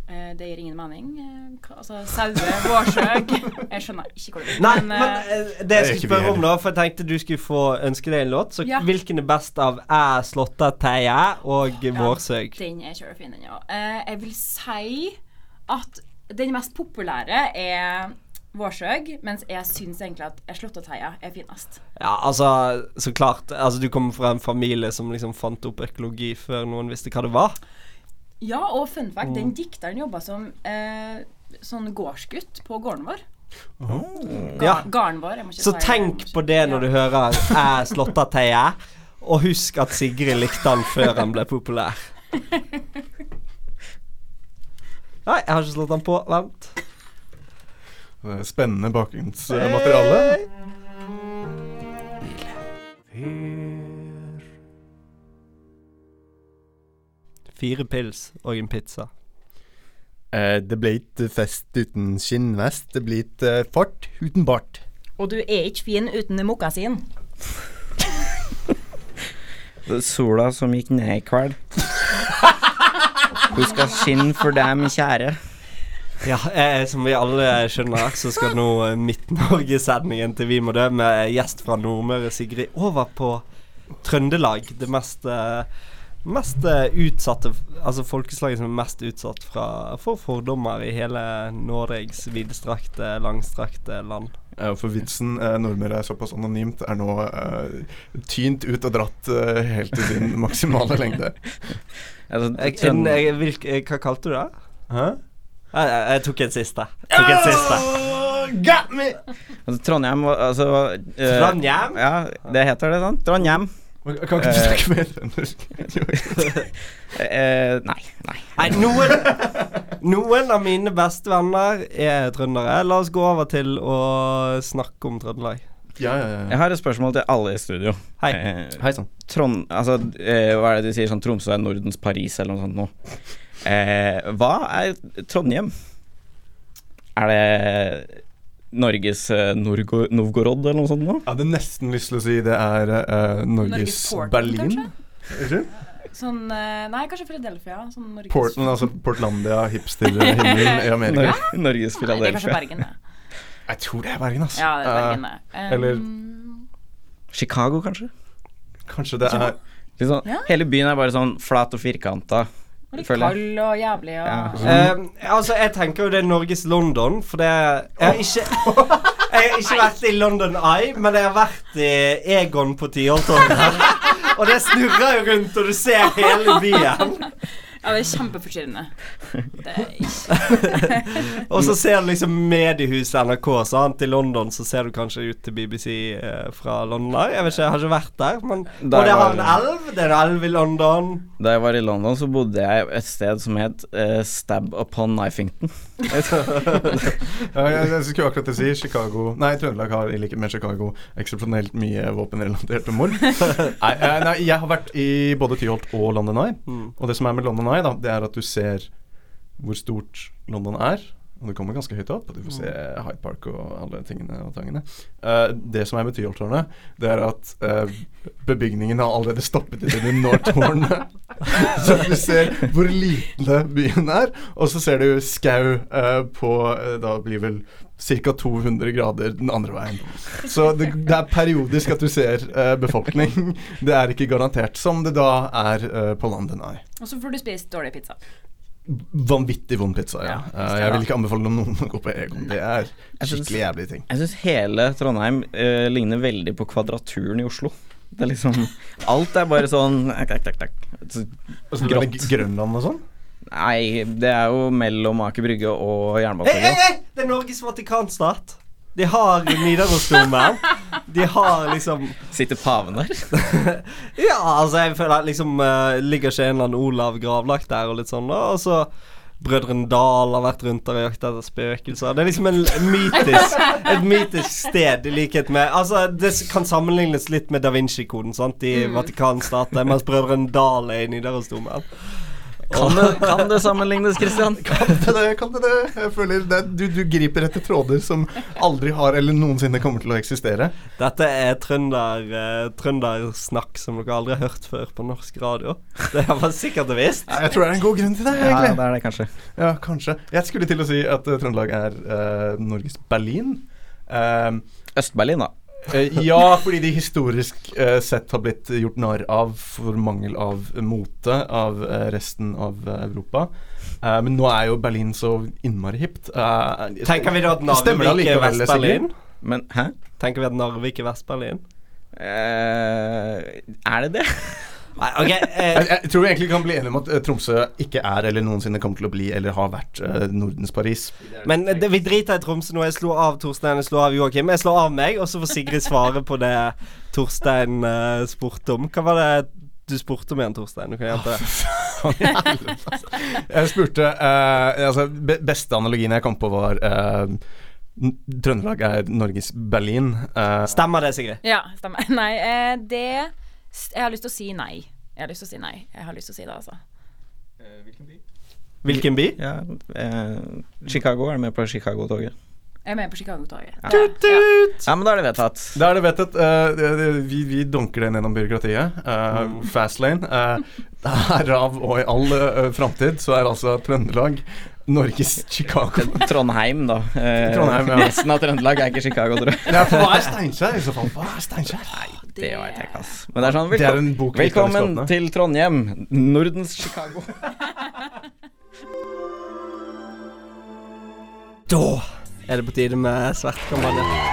Speaker 9: eh, det gir ingen mening. eh, hva- Altså, sauer, vårsøg Jeg skjønner ikke hvor det
Speaker 6: Nei,
Speaker 9: men,
Speaker 6: men
Speaker 9: eh,
Speaker 6: eh, det jeg
Speaker 7: er
Speaker 6: skulle
Speaker 7: ikke vi
Speaker 6: spørre om,
Speaker 7: heller.
Speaker 6: da, for jeg tenkte du skulle få ønske deg en låt, så
Speaker 9: Ja.
Speaker 6: hvilken er best av Æ, Slåtta, Teie og Vårsøg?
Speaker 9: Den er kjørefin, den, ja. Eh, jeg vil si at den mest populære er Vårsøg, mens jeg syns egentlig at Slåtteteia er finest.
Speaker 6: Ja, altså, så klart. Altså, du kommer fra en familie som liksom fant opp økologi før noen visste hva det var.
Speaker 9: Ja, og fun fact,
Speaker 6: Mm.
Speaker 9: den dikteren jobba som eh, sånn gårdsgutt på gården vår. Ga
Speaker 6: Oh. Ja.
Speaker 9: Gården vår. Jeg må ikke
Speaker 6: Så
Speaker 9: si-
Speaker 6: tenk på det når du hører 'Æ slåttateie', og husk at Sigrid likte han før han ble populær. Nei, jeg har ikke slått han på. Vent.
Speaker 7: Det er eh, Spennende bakgrunnsmateriale.
Speaker 6: Fire pils og en pizza.
Speaker 10: Eh, det ble ikke fest uten skinnvest. Det ble ikke eh, fart uten bart.
Speaker 9: Og du er ikke fin uten mokasin.
Speaker 8: Sola som gikk ned i kveld. Hun skal skinne for dem, kjære.
Speaker 6: Ja, eh, som vi alle skjønner, så skal nå eh, Midt-Norge-sendingen til Vi må dø med gjest fra Nordmøre, Sigrid, over på Trøndelag. Det mest, eh, mest eh, utsatte Altså folkeslaget som er mest utsatt fra, for fordommer i hele Norges vidstrakte, langstrakte land.
Speaker 7: Eh, For vitsen eh, 'Nordmøre er såpass anonymt' er nå eh, tynt ut og dratt eh, helt til sin maksimale lengde.
Speaker 8: Altså,
Speaker 6: Jeg, en,
Speaker 8: Trønd-
Speaker 6: jeg, hvilk, eh, hva kalte du det? Hæ? Jeg, jeg, jeg tok en siste. Tok en siste.
Speaker 8: altså, Trondheim var- altså, eh,
Speaker 6: Trondheim?
Speaker 8: Ja, det heter det, sant? Trondheim.
Speaker 7: Kan ikke du snakke mer trøndersk?
Speaker 8: Eh, nei, nei.
Speaker 6: Nei, noen, noen av mine beste venner er trøndere. La oss gå over til å snakke om Trøndelag.
Speaker 7: Ja, ja, ja.
Speaker 8: Jeg har et spørsmål til alle i studio.
Speaker 6: Hei. sånn.
Speaker 8: Eh,
Speaker 7: Hei sann.
Speaker 8: Trond, altså, eh, hva er det de sier? Sånn Tromsø er Nordens Paris, eller noe sånt noe. Eh, hva er Trondheim? Er det Norges eh, Norgo, Novgorod, eller noe sånt noe?
Speaker 7: Jeg hadde nesten lyst til å si det er eh, Norges
Speaker 9: Norges Portland,
Speaker 7: Berlin. Unnskyld?
Speaker 9: Sånn eh, Nei, kanskje Philadelphia. Sånn Norges
Speaker 7: Portland, altså Portlandia, hipsterhimmelen i Amerika.
Speaker 8: Nor Norges
Speaker 9: Nei, det er kanskje
Speaker 8: Philadelphia.
Speaker 9: Bergen, det.
Speaker 7: Jeg tror det er Bergen, altså.
Speaker 9: Ja, det er Bergen,
Speaker 7: Eh,
Speaker 9: det.
Speaker 7: eller-
Speaker 9: Um,
Speaker 8: Chicago, kanskje?
Speaker 7: kanskje det er
Speaker 8: Litt sånn,
Speaker 9: Ja.
Speaker 8: Hele byen er bare sånn flat og firkanta.
Speaker 9: og litt
Speaker 8: Føler jeg.
Speaker 9: kald og jævlig og
Speaker 8: Ja.
Speaker 6: Eh, altså, jeg tenker jo det er Norges London, for det Jeg har ikke, jeg har ikke vært i London Eye, men jeg har vært i Egon på Tyholtårnet. Og det snurrer jo rundt, og du ser hele byen.
Speaker 9: Ja, det er kjempeforstyrrende. Det er ikke
Speaker 6: Og så ser du liksom mediehuset NRK, sant. I London så ser du kanskje ut til BBC eh, fra London Eye. Jeg vet ikke, jeg har ikke vært der, men
Speaker 8: Der
Speaker 6: Og det har
Speaker 8: var-
Speaker 6: en elv. Det er en elv i London.
Speaker 8: Da jeg var i London, så bodde jeg et sted som het eh, Stab upon Knifington.
Speaker 7: Ja, jeg, jeg skulle akkurat til å si Chicago Nei, Trøndelag har i likhet med Chicago eksepsjonelt mye våpenrelaterte mord. nei, eh, nei, jeg har vært i både Tyholt og London Eye. Og det som er med London Eye, da, det er at du ser hvor stort London er. Og du kommer ganske høyt opp, og du får se Hyde Park og alle tingene og tangene. Eh, det som er med Tyholttårnet, det er at eh, bebygningen har allerede stoppet i det du når tårnet. så du ser hvor liten byen er. Og så ser du skau eh, på eh, Da blir vel ca. 200 grader den andre veien. Så det, det er periodisk at du ser eh, befolkning. Det er ikke garantert, som det da er eh, på London Eye.
Speaker 9: Og så får du spist dårlig pizza.
Speaker 7: Vanvittig vond pizza, ja. Eh, jeg vil ikke anbefale noen å gå på Egon. Det er
Speaker 8: synes-
Speaker 7: skikkelig jævlig ting.
Speaker 8: Jeg syns hele Trondheim eh, ligner veldig på Kvadraturen i Oslo. Det er liksom Alt er bare sånn tak, tak, tak. Så-
Speaker 7: Altså, det med Grønland og sånn?
Speaker 8: Nei, det er jo mellom Aker Brygge og
Speaker 6: Hei, hei,
Speaker 8: Jernbanetorget.
Speaker 6: hei! Eh, Det er Norges Vatikanstat. De har Nidarosdomen. De har liksom
Speaker 8: Sitter paven der?
Speaker 6: Ja, altså, jeg føler at liksom eh, Ligger ikke en eller annen Olav gravlagt der og litt sånn, da. Og så Brødrene Dal har vært rundt der og jaktet etter spøkelser. Det er liksom en en mytisk, et mytisk sted, i likhet med Altså, det s- kan sammenlignes litt med Da Vinci-koden, sant, i Vatikanstaten, mens Brødrene Dal er i Nidarosdomen.
Speaker 8: Kan det, kan det sammenlignes, Christian?
Speaker 7: Kan det det? Kan det det? Jeg føler det, du, du griper etter tråder som aldri har eller noensinne kommer til å eksistere.
Speaker 6: Dette er trønder, eh, trøndersnakk som dere aldri har hørt før på norsk radio. Det har man sikkert visst.
Speaker 7: Jeg tror det er en god grunn til det,
Speaker 8: Ja,
Speaker 7: egentlig.
Speaker 8: det er det kanskje.
Speaker 7: Ja, kanskje. Jeg skulle til å si at eh, Trøndelag er eh, Norges Berlin. Eh,
Speaker 8: Øst-Berlin, da.
Speaker 7: Eh, ja, fordi de historisk eh, sett har blitt gjort narr av for mangel av mote av eh, resten av eh, Europa. Eh, men nå er jo Berlin så innmari hipt. Eh,
Speaker 6: Tenker vi da at Narvik
Speaker 7: stemmer det
Speaker 6: er
Speaker 7: allikevel,
Speaker 6: Vest-Berlin?
Speaker 7: Sigrid?
Speaker 8: Men hæ?
Speaker 6: Tenker vi at Narvik er Vest-Berlin?
Speaker 8: Eh, er det det?
Speaker 6: Nei, ok eh,
Speaker 7: Jeg, jeg tror vi egentlig kan bli enige om at eh, Tromsø ikke er eller noensinne kommer til å bli eller har vært eh, Nordens Paris.
Speaker 6: Men det, vi driter i Tromsø nå. Jeg slår av Torstein, jeg slår av Joakim. Jeg slår av meg, og så får Sigrid svare på det Torstein eh, spurte om. Hva var det du spurte om igjen, Torstein? Du kan hjelpe det.
Speaker 7: Jeg spurte eh, altså, be Beste analogien jeg kom på, var eh, N- Trøndelag er Norges Berlin. eh.
Speaker 6: Stemmer det, Sigrid?
Speaker 9: Ja, stemmer. Nei, eh, det s- Jeg har lyst til å si nei. Jeg har lyst til å si nei. Jeg har lyst til å si det, altså.
Speaker 6: Hvilken by?
Speaker 8: Ja, eh, Chicago. Er du med på Chicago-toget?
Speaker 9: Jeg er med på Chicago-toget.
Speaker 8: Ja.
Speaker 9: Ja.
Speaker 8: Ja, men da er det vedtatt.
Speaker 7: Da er det vedtatt. eh, det- det- vi, vi dunker den gjennom byråkratiet. eh, Fastlane. eh, Herav og i all uh, framtid så er altså Trøndelag Norges Chicago.
Speaker 8: Trondheim, da. Eh,
Speaker 7: Trondheim, ja.
Speaker 8: Resten av Trøndelag er ikke Chicago, tror jeg.
Speaker 7: Ja, for hva er Steinkjer i så fall? Hva er Steinkjer?
Speaker 8: Det vet jeg ikke, ass. Men det er sånn,
Speaker 7: Det er
Speaker 8: velkom
Speaker 7: en bok vi ikke har lyst til å
Speaker 8: Velkommen
Speaker 7: åpne.
Speaker 8: til Trondheim, Nordens Chicago.
Speaker 6: Da er det på tide med svertkampanje.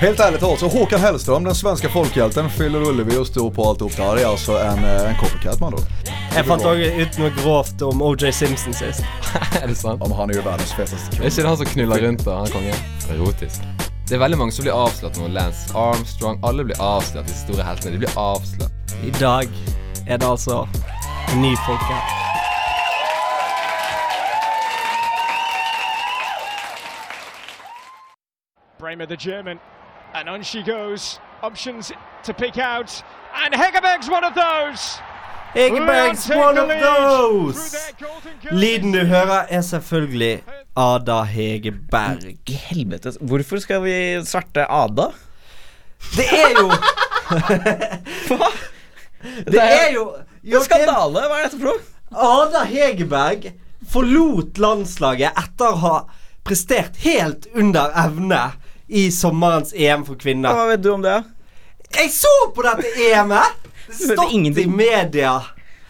Speaker 11: Helt ärligt alltså, Håkan Hellström, den svenska folkhjälten, fyller Ullevi och står på alltihop. Det här är alltså en, eh, en copycat man då.
Speaker 6: Jeg fant òg ut noe grovt om OJ Simpson sist.
Speaker 12: Er det sant?
Speaker 11: Ja, men han er jo verdens feteste
Speaker 12: Er ikke det han som knuller rundt da, han kongen? Erotisk. Det er veldig mange som blir avslørt nå. Lance Armstrong, alle blir avslørt. De store heltene, de blir avslørt.
Speaker 6: I dag er det altså en ny folkehelt.
Speaker 13: Bremer, the German, and on she goes. Options to pick out, and Hegerberg's one of those.
Speaker 6: Egebergs one
Speaker 13: Leon take the
Speaker 6: of
Speaker 13: lead.
Speaker 6: those! Lyden du hører, er selvfølgelig Ada Hegeberg.
Speaker 8: I helvete, hvorfor skal vi sverte Ada?
Speaker 6: Det er jo Det er jo
Speaker 8: En skandale! Hva er dette for noe?
Speaker 6: Ada Hegerberg forlot landslaget etter å ha prestert helt under evne i sommerens EM for kvinner.
Speaker 8: Hva vet du om det?
Speaker 6: Jeg så på dette EM-et!
Speaker 8: vet
Speaker 6: Stått i
Speaker 8: ingenting.
Speaker 6: media.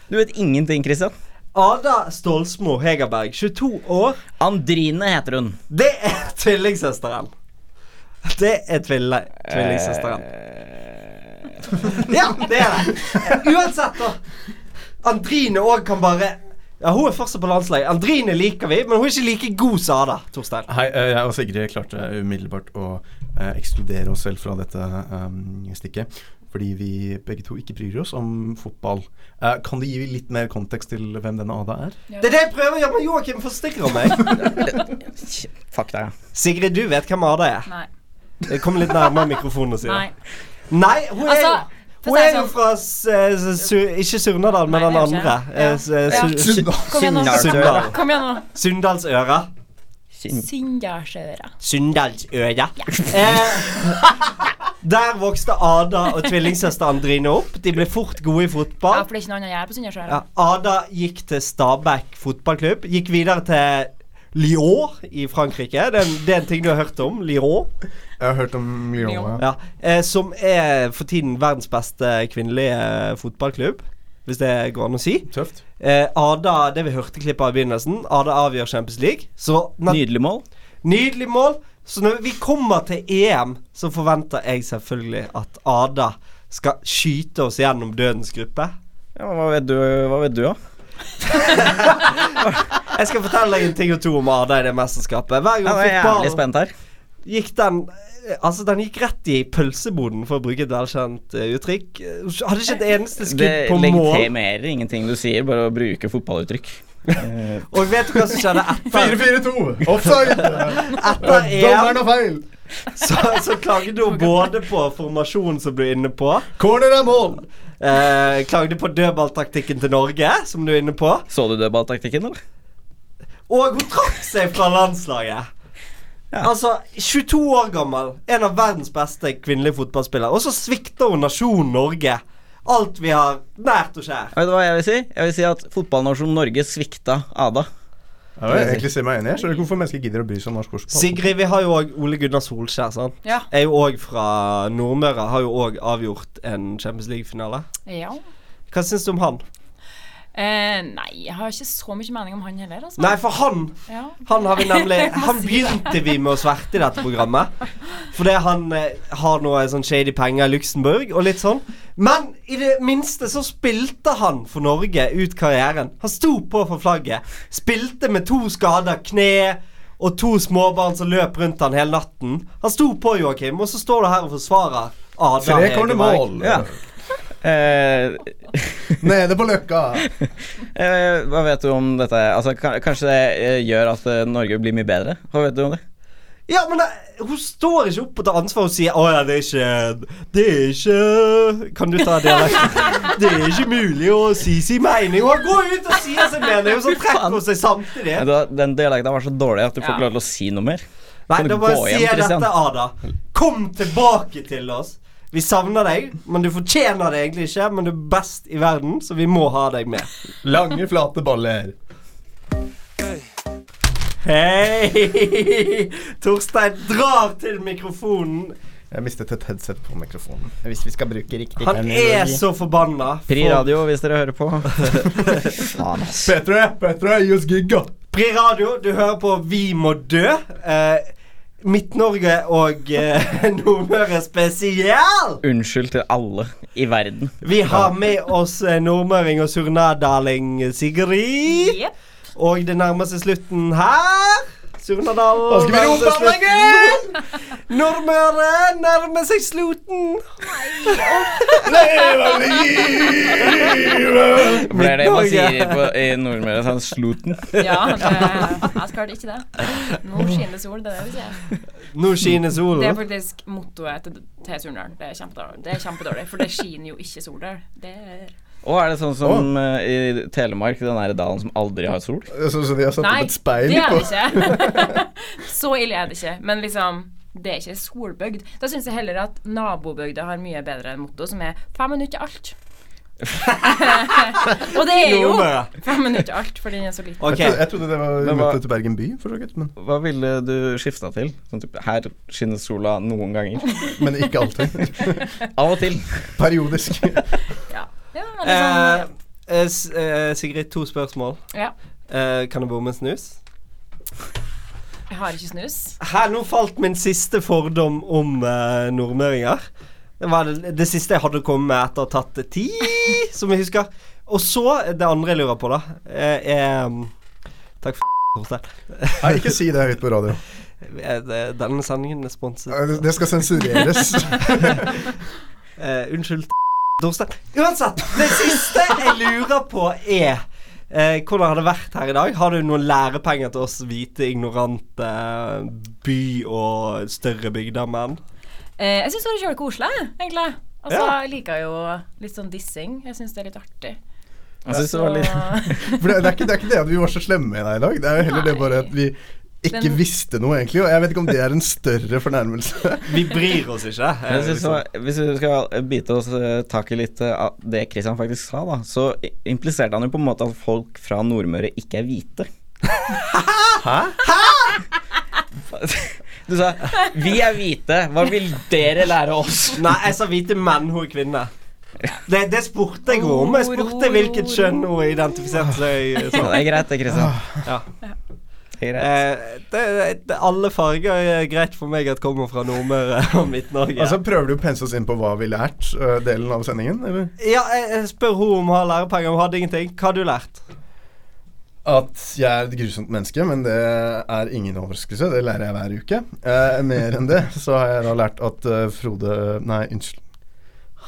Speaker 8: Du vet ingenting, Christian.
Speaker 6: Ada Stolsmo Hegerberg, 22 år.
Speaker 8: Andrine heter hun.
Speaker 6: Det er tvillingsøsteren. Det er tville, tvillingsøsteren. Ja, det er det. Uansett, da. Andrine òg kan bare Ja, Hun er fortsatt på landslaget. Andrine liker vi, men hun er ikke like god som Ada. Torstein.
Speaker 7: Hei, eh, jeg og Sigrid klarte umiddelbart å eh, ekskludere oss selv fra dette eh, stikket. Fordi vi begge to ikke bryr oss om fotball. Eh, kan du gi litt mer kontekst til hvem denne Ada er?
Speaker 6: Det er det jeg prøver å gjøre, men Joakim forstyrrer meg.
Speaker 8: Fuck deg.
Speaker 6: Sigrid, du vet hvem Ada er?
Speaker 9: Nei.
Speaker 6: Kom litt nærmere mikrofonen og si
Speaker 9: Nei.
Speaker 6: det. Nei, hun er jo
Speaker 9: Altså, for å
Speaker 6: hun
Speaker 9: si
Speaker 6: er
Speaker 9: det
Speaker 6: jo
Speaker 9: sånn-
Speaker 6: fra s- eh, s- Su- Ikke Surnadal, men den
Speaker 9: det er
Speaker 6: andre.
Speaker 9: ikke.
Speaker 6: Eh, s- eh,
Speaker 9: Ja.
Speaker 6: Su- Su-
Speaker 9: Kom igjen nå.
Speaker 6: Sunndal.
Speaker 9: Kom igjen nå.
Speaker 6: Sunndalsøra.
Speaker 9: Singasjøra.
Speaker 6: Sunndalsøya. Eh, der vokste Ada og tvillingsøster Andrine opp. De ble fort gode i
Speaker 9: Ja,
Speaker 6: fotball.
Speaker 9: for det er ikke noe annet å gjøre på Singasjøra.
Speaker 6: Ja, Ada gikk til Stabæk fotballklubb. Gikk videre til Lyon i Frankrike. Det er, en, det er en ting du har hørt om. Lyon.
Speaker 7: Jeg har hørt om Lyon, ja.
Speaker 6: Ja, eh, som er for tiden verdens beste kvinnelige fotballklubb. Hvis det går an å si.
Speaker 7: Tøft.
Speaker 6: Eh, Ada, det vi hørte klippet av i begynnelsen, Ada avgjør Champions League. Så
Speaker 8: Nydelig mål.
Speaker 6: Nydelig mål. Så når vi kommer til EM, så forventer jeg selvfølgelig at Ada skal skyte oss gjennom dødens gruppe.
Speaker 8: Ja, men hva vet du, hva vet du da?
Speaker 6: Jeg skal fortelle deg en ting og to om Ada i det mesterskapet. Hver gang
Speaker 8: Ja, nå er jeg jævlig
Speaker 6: fotballen
Speaker 8: spent her.
Speaker 6: gikk den Altså, den gikk rett i pølseboden, for å bruke et velkjent eh, uttrykk. Eh, Hadde ikke et eneste skudd
Speaker 8: Det
Speaker 6: på mål.
Speaker 8: legitimerer ingenting du sier, bare å bruke fotballuttrykk. Eh,
Speaker 6: Og vet du hva som skjedde etter
Speaker 7: 4-4-2! Offside!
Speaker 6: Etter
Speaker 7: Dommeren
Speaker 6: EM
Speaker 7: har feil!
Speaker 6: så, så klagde hun både på formasjonen som du er inne på
Speaker 7: Corner er mål!
Speaker 6: Eh, klagde på dødballtaktikken til Norge, som du er inne på.
Speaker 8: Så du dødballtaktikken, eller?
Speaker 6: Og hun trakk seg fra landslaget. Altså, 22 år gammel, en av verdens beste kvinnelige fotballspillere. Og så svikter hun nasjonen Norge. Alt vi har nært og kjær.
Speaker 8: Vet du hva jeg vil si? Jeg vil si at fotballnasjonen Norge svikta Ada.
Speaker 7: Ja, jeg vil egentlig si meg enig. Jeg skjønner ikke hvorfor mennesker gidder å bry seg om norsk ordspråk.
Speaker 6: Sigrid, vi har jo òg Ole Gunnar Solskjær, sant.
Speaker 9: Ja.
Speaker 6: Er jo òg fra Nordmøre. Har jo òg avgjort en Champions League-finale.
Speaker 9: Ja.
Speaker 6: Hva syns du om han?
Speaker 9: Eh, nei, jeg har ikke så mye mening om han heller, altså.
Speaker 6: Nei, for han
Speaker 9: Ja.
Speaker 6: Han har vi nemlig
Speaker 9: Jeg må
Speaker 6: Han
Speaker 9: si det.
Speaker 6: begynte vi med å sverte i dette programmet. Fordi han eh, har noe sånn shady penger i Luxembourg og litt sånn. Men i det minste så spilte han for Norge ut karrieren. Han sto på for flagget. Spilte med to skader, kne og to småbarn som løp rundt han hele natten. Han sto på, Joakim, og så står du her og forsvarer Adam
Speaker 11: Trekornet
Speaker 6: Egeberg.
Speaker 11: mål.
Speaker 6: Ja.
Speaker 8: Eh, Nede på løkka. Eh, Hva vet du om dette? Altså, ka- kanskje det eh, gjør at eh, Norge blir mye bedre? Hva vet du om det?
Speaker 6: Ja, men det, hun står ikke opp og tar ansvar og sier 'Å ja, det er ikke Det er ikke Kan du ta dialekten? Det er ikke mulig å si sin mening. Hun går ut og sier sin mening, og så trekker hun seg samtidig.
Speaker 8: Nei, da- Den dialekten var så dårlig at du får
Speaker 6: Ja.
Speaker 8: ikke lov til å si noe mer.
Speaker 6: Nei,
Speaker 8: Kan du
Speaker 6: da bare
Speaker 8: gå hjem,
Speaker 6: sier jeg
Speaker 8: Christian?
Speaker 6: dette, Ada. Kom tilbake til oss. Vi savner deg, men du fortjener det egentlig ikke. Men du er best i verden, så vi må ha deg med. Lange, flate baller. Hei! Torstein drar til mikrofonen.
Speaker 10: Jeg mistet et headset på mikrofonen. Hvis vi skal bruke riktig
Speaker 6: Han er så forbanna.
Speaker 10: Pri
Speaker 6: for-
Speaker 10: radio,
Speaker 8: hvis dere hører på. Faen, ass.
Speaker 6: Petre, Petre, gi oss giga. Pri Radio, du hører på Vi må dø. Eh, Midt-Norge og eh, Nordmøre spesial.
Speaker 8: Unnskyld til alle i verden.
Speaker 6: Vi har med oss eh, nordmøring og surnadaling Sigrid. Og det nærmer seg slutten her. Surnadal altså,
Speaker 10: Hva skal vi rope om
Speaker 6: Nordmøre nærmer seg slutten.
Speaker 10: Leve livet!
Speaker 8: For det er det man
Speaker 10: Norge.
Speaker 8: sier på, i Nordmøre. Sånn sluten.
Speaker 9: Ja, det, jeg skal ikke det. Nå skinner sol, det er det vi sier.
Speaker 6: Nå skinner solen.
Speaker 9: Det er faktisk mottoet til, til Surnadal. Det er kjempedårlig. Det er kjempedårlig, for det skiner jo ikke sol der. Det er
Speaker 8: Og er det sånn som eh, i Telemark, den der dalen som aldri har sol?
Speaker 10: Sånn som de har satt
Speaker 9: Nei,
Speaker 10: opp et speil
Speaker 9: det er
Speaker 10: på.
Speaker 9: det ikke. Så ille er det ikke. Men liksom, det er ikke solbygd. Da syns jeg heller at nabobygda har mye bedre motto, som er 'fem minutter til alt'. Og det er jo
Speaker 7: Nordmøre.
Speaker 9: fem minutter til alt, fordi den er så liten.
Speaker 7: Jeg, trodde, jeg trodde det var
Speaker 8: Men hva-
Speaker 7: møtet til Bergen by, for så vidt. Men
Speaker 8: Hva ville du skifta til? Sånn typ, her skinner sola noen ganger.
Speaker 10: Men ikke alltid.
Speaker 8: Av og til.
Speaker 10: Periodisk.
Speaker 9: Ja, men
Speaker 6: Eh,
Speaker 9: liksom,
Speaker 6: eh, S- eh, Sigrid, to spørsmål.
Speaker 9: Ja.
Speaker 6: Eh, kan jeg bomme en snus?
Speaker 9: jeg har ikke snus.
Speaker 6: Her, nå falt min siste fordom om eh, nordmøringer. Det var det, det siste jeg hadde å komme med etter å ha tatt ti, som jeg husker. Og så, det andre jeg lurer på, da, eh, er Takk for Torstein.
Speaker 10: Nei, ikke si det høyt på radio.
Speaker 6: Eh, det- Denne sendingen er sponset.
Speaker 10: Nei, det- det skal sensureres.
Speaker 6: Eh, unnskyld, Torstein. Uansett, det siste jeg lurer på, er eh, hvordan har det vært her i dag? Har du noen lærepenger til oss hvite, ignorante by- og større bygdemenn?
Speaker 9: Eh, jeg syns det var kjølig koselig, egentlig. Altså,
Speaker 6: Ja.
Speaker 9: Jeg liker jo litt sånn dissing. Jeg syns det er litt artig.
Speaker 10: Jeg synes det var litt-
Speaker 9: Så-
Speaker 10: For det, det, er ikke, det er ikke det at vi var så slemme med deg i dag. Det er jo heller det bare at vi ikke
Speaker 9: Men-
Speaker 10: visste noe, egentlig. Og jeg vet ikke om det er en større fornærmelse.
Speaker 6: Vi bryr oss ikke. eh,
Speaker 8: Jeg synes det var- Altså, Hvis vi skal bite oss eh, tak i litt eh, av det Christian faktisk sa, da, så i- impliserte han jo på en måte at folk fra Nordmøre ikke er hvite. Hæ? Du sa 'vi er hvite', hva vil dere lære oss?
Speaker 6: Nei, jeg sa hvite menn, hun er kvinne. Det, det spurte jeg henne om. Jeg spurte hvilket kjønn hun identifiserte seg eh, som.
Speaker 8: Ja, det er greit, det, Kristian.
Speaker 6: Ja.
Speaker 8: Det er greit.
Speaker 6: Eh, det, det, alle farger er greit for meg at kommer fra Nordmøre og Midt-Norge.
Speaker 10: Altså Prøver du å pense oss inn på hva vi lært øh, delen av sendingen, eller?
Speaker 6: ja, jeg, jeg spør hun om hun har lærepenger. Hun hadde ingenting. Hva har du lært?
Speaker 10: At jeg er et grusomt menneske, men det er ingen overraskelse. Det lærer jeg hver uke. Eh, mer enn det så har jeg da lært at eh, Frode Nei, unnskyld.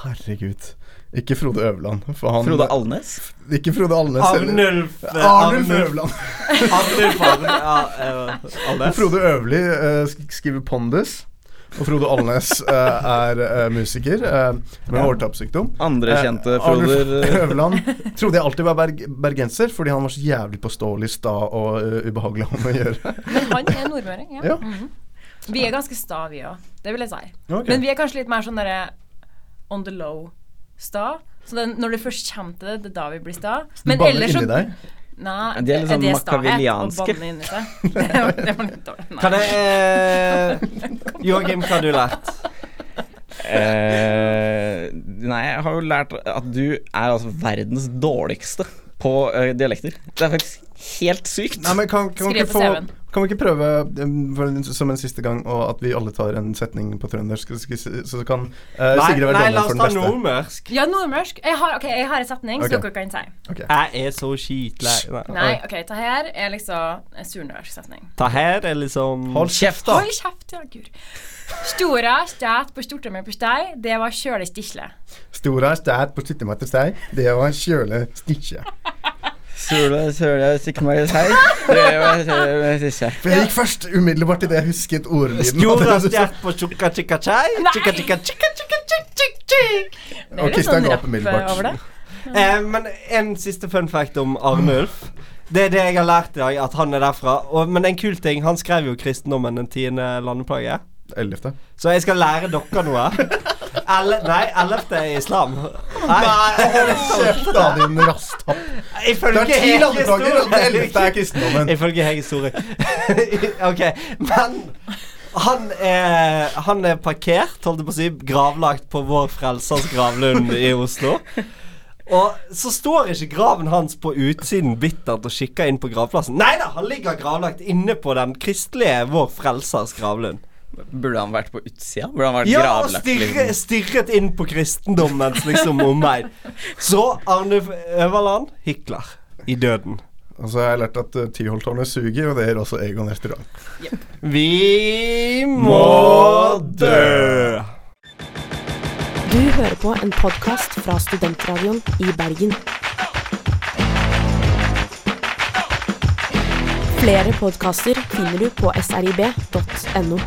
Speaker 10: Herregud. Ikke Frode Øverland. For han
Speaker 8: Frode Alnes?
Speaker 10: Ikke Frode Alnes heller.
Speaker 6: Arnulf eh,
Speaker 10: Arnulf Øverland.
Speaker 6: Arnulf Øverland. Ja, eh, Alnes.
Speaker 10: Frode Øverli eh, sk- skriver pondus. Og Frode Alnes eh, er eh, musiker eh, med
Speaker 8: Ja.
Speaker 10: overtappssykdom.
Speaker 8: Andre
Speaker 10: Eh,
Speaker 8: kjente
Speaker 10: Arnulf
Speaker 8: Froder.
Speaker 10: Øverland trodde jeg alltid var berg bergenser, fordi han var så jævlig påståelig, sta og eh, ubehagelig om å gjøre.
Speaker 9: Men han er nordmøring, ja.
Speaker 10: Ja.
Speaker 9: Mhm. Vi er ganske sta, vi òg. Det vil jeg si.
Speaker 10: Ok.
Speaker 9: Men vi er kanskje litt mer sånn derre on the low-sta. Så den, når du først kommer til det, det er da vi blir sta. Men
Speaker 10: Banner
Speaker 9: ellers
Speaker 10: inni
Speaker 9: så
Speaker 10: deg.
Speaker 9: Nei,
Speaker 8: De er litt sånn
Speaker 9: det sta-
Speaker 8: machiavellianske.
Speaker 9: å banne inni seg? Det var- det var litt dårlig. Nei.
Speaker 6: Kan jeg eh, Joakim, hva har du lært?
Speaker 8: Eh, nei, jeg har jo lært at du er altså verdens dårligste på eh, dialekter. Det er faktisk helt sykt.
Speaker 7: Nei, men kan, kan, vi ikke få, kan vi ikke prøve um, for, en- som en siste gang og at vi alle tar en setning på trøndersk, så, så, så kan eh,
Speaker 6: Nei,
Speaker 7: Sigrid være
Speaker 6: nei, la oss
Speaker 7: dommer
Speaker 6: ta
Speaker 7: for den beste?
Speaker 6: nordmørsk.
Speaker 9: Ja, nordmørsk. Jeg har, ok, jeg har en setning
Speaker 7: Ok.
Speaker 9: så dere kan si.
Speaker 6: Jeg er så skitlei
Speaker 9: Nei, ok, ta her er liksom en surnordnorsk setning.
Speaker 6: Ta her er liksom
Speaker 9: Hold kjeft, ja, gud. Stora stæt på stortømmer på stei, det var kjølig stisle.
Speaker 7: Stora stæt på stuttematers steg, det var kjøle stikkje.
Speaker 8: Sula, sula, stikk meg i seg. Det var- det var siste.
Speaker 7: For jeg gikk først umiddelbart idet jeg husket ordlyden.
Speaker 6: Stora stjert på tjukka tjukka tjei
Speaker 9: Nei.
Speaker 6: Tjukka tjukka tjukka tjukka tjukk tjukk tjukk
Speaker 9: Det er Ok, litt sånn stang opp umiddelbart. rapp over det.
Speaker 6: Eh, men en siste fun fact om Arnulf. Det er det jeg har lært i dag, at han er derfra. Og, men en kul ting, han skrev jo kristendommen den tiende landeplage.
Speaker 7: Ellevte.
Speaker 6: Så jeg skal lære dere noe. Elle, nei, ellevte er islam. Nei,
Speaker 7: Kjeft av din rasthapp.
Speaker 6: Ifølge
Speaker 7: Det er ti
Speaker 6: Heges
Speaker 7: landeplager, og den
Speaker 6: store-
Speaker 7: ellevte er kristendommen.
Speaker 6: Ifølge Heges store. ok, men han er, han er parkert, holdt jeg på å si, gravlagt på Vår Frelsers gravlund i Oslo. Og så står ikke graven hans på utsiden bittert og kikker inn på gravplassen. Nei da, han ligger gravlagt inne på den kristelige Vår Frelsers gravlund.
Speaker 8: Burde han vært på utsida? Burde han vært
Speaker 6: Ja, og
Speaker 8: gravlagt?
Speaker 6: stirre,
Speaker 8: liksom?
Speaker 6: stirret inn på kristendommens liksom omvei. Så Arne Øverland, Hitler. I døden.
Speaker 7: Og så har jeg lært at uh, Tyholttårnet suger, og det gjør også Egon restaurant.
Speaker 6: Vi må dø!
Speaker 14: Du hører på en podkast fra Studentradioen i Bergen. Flere podkaster finner du på srib.no.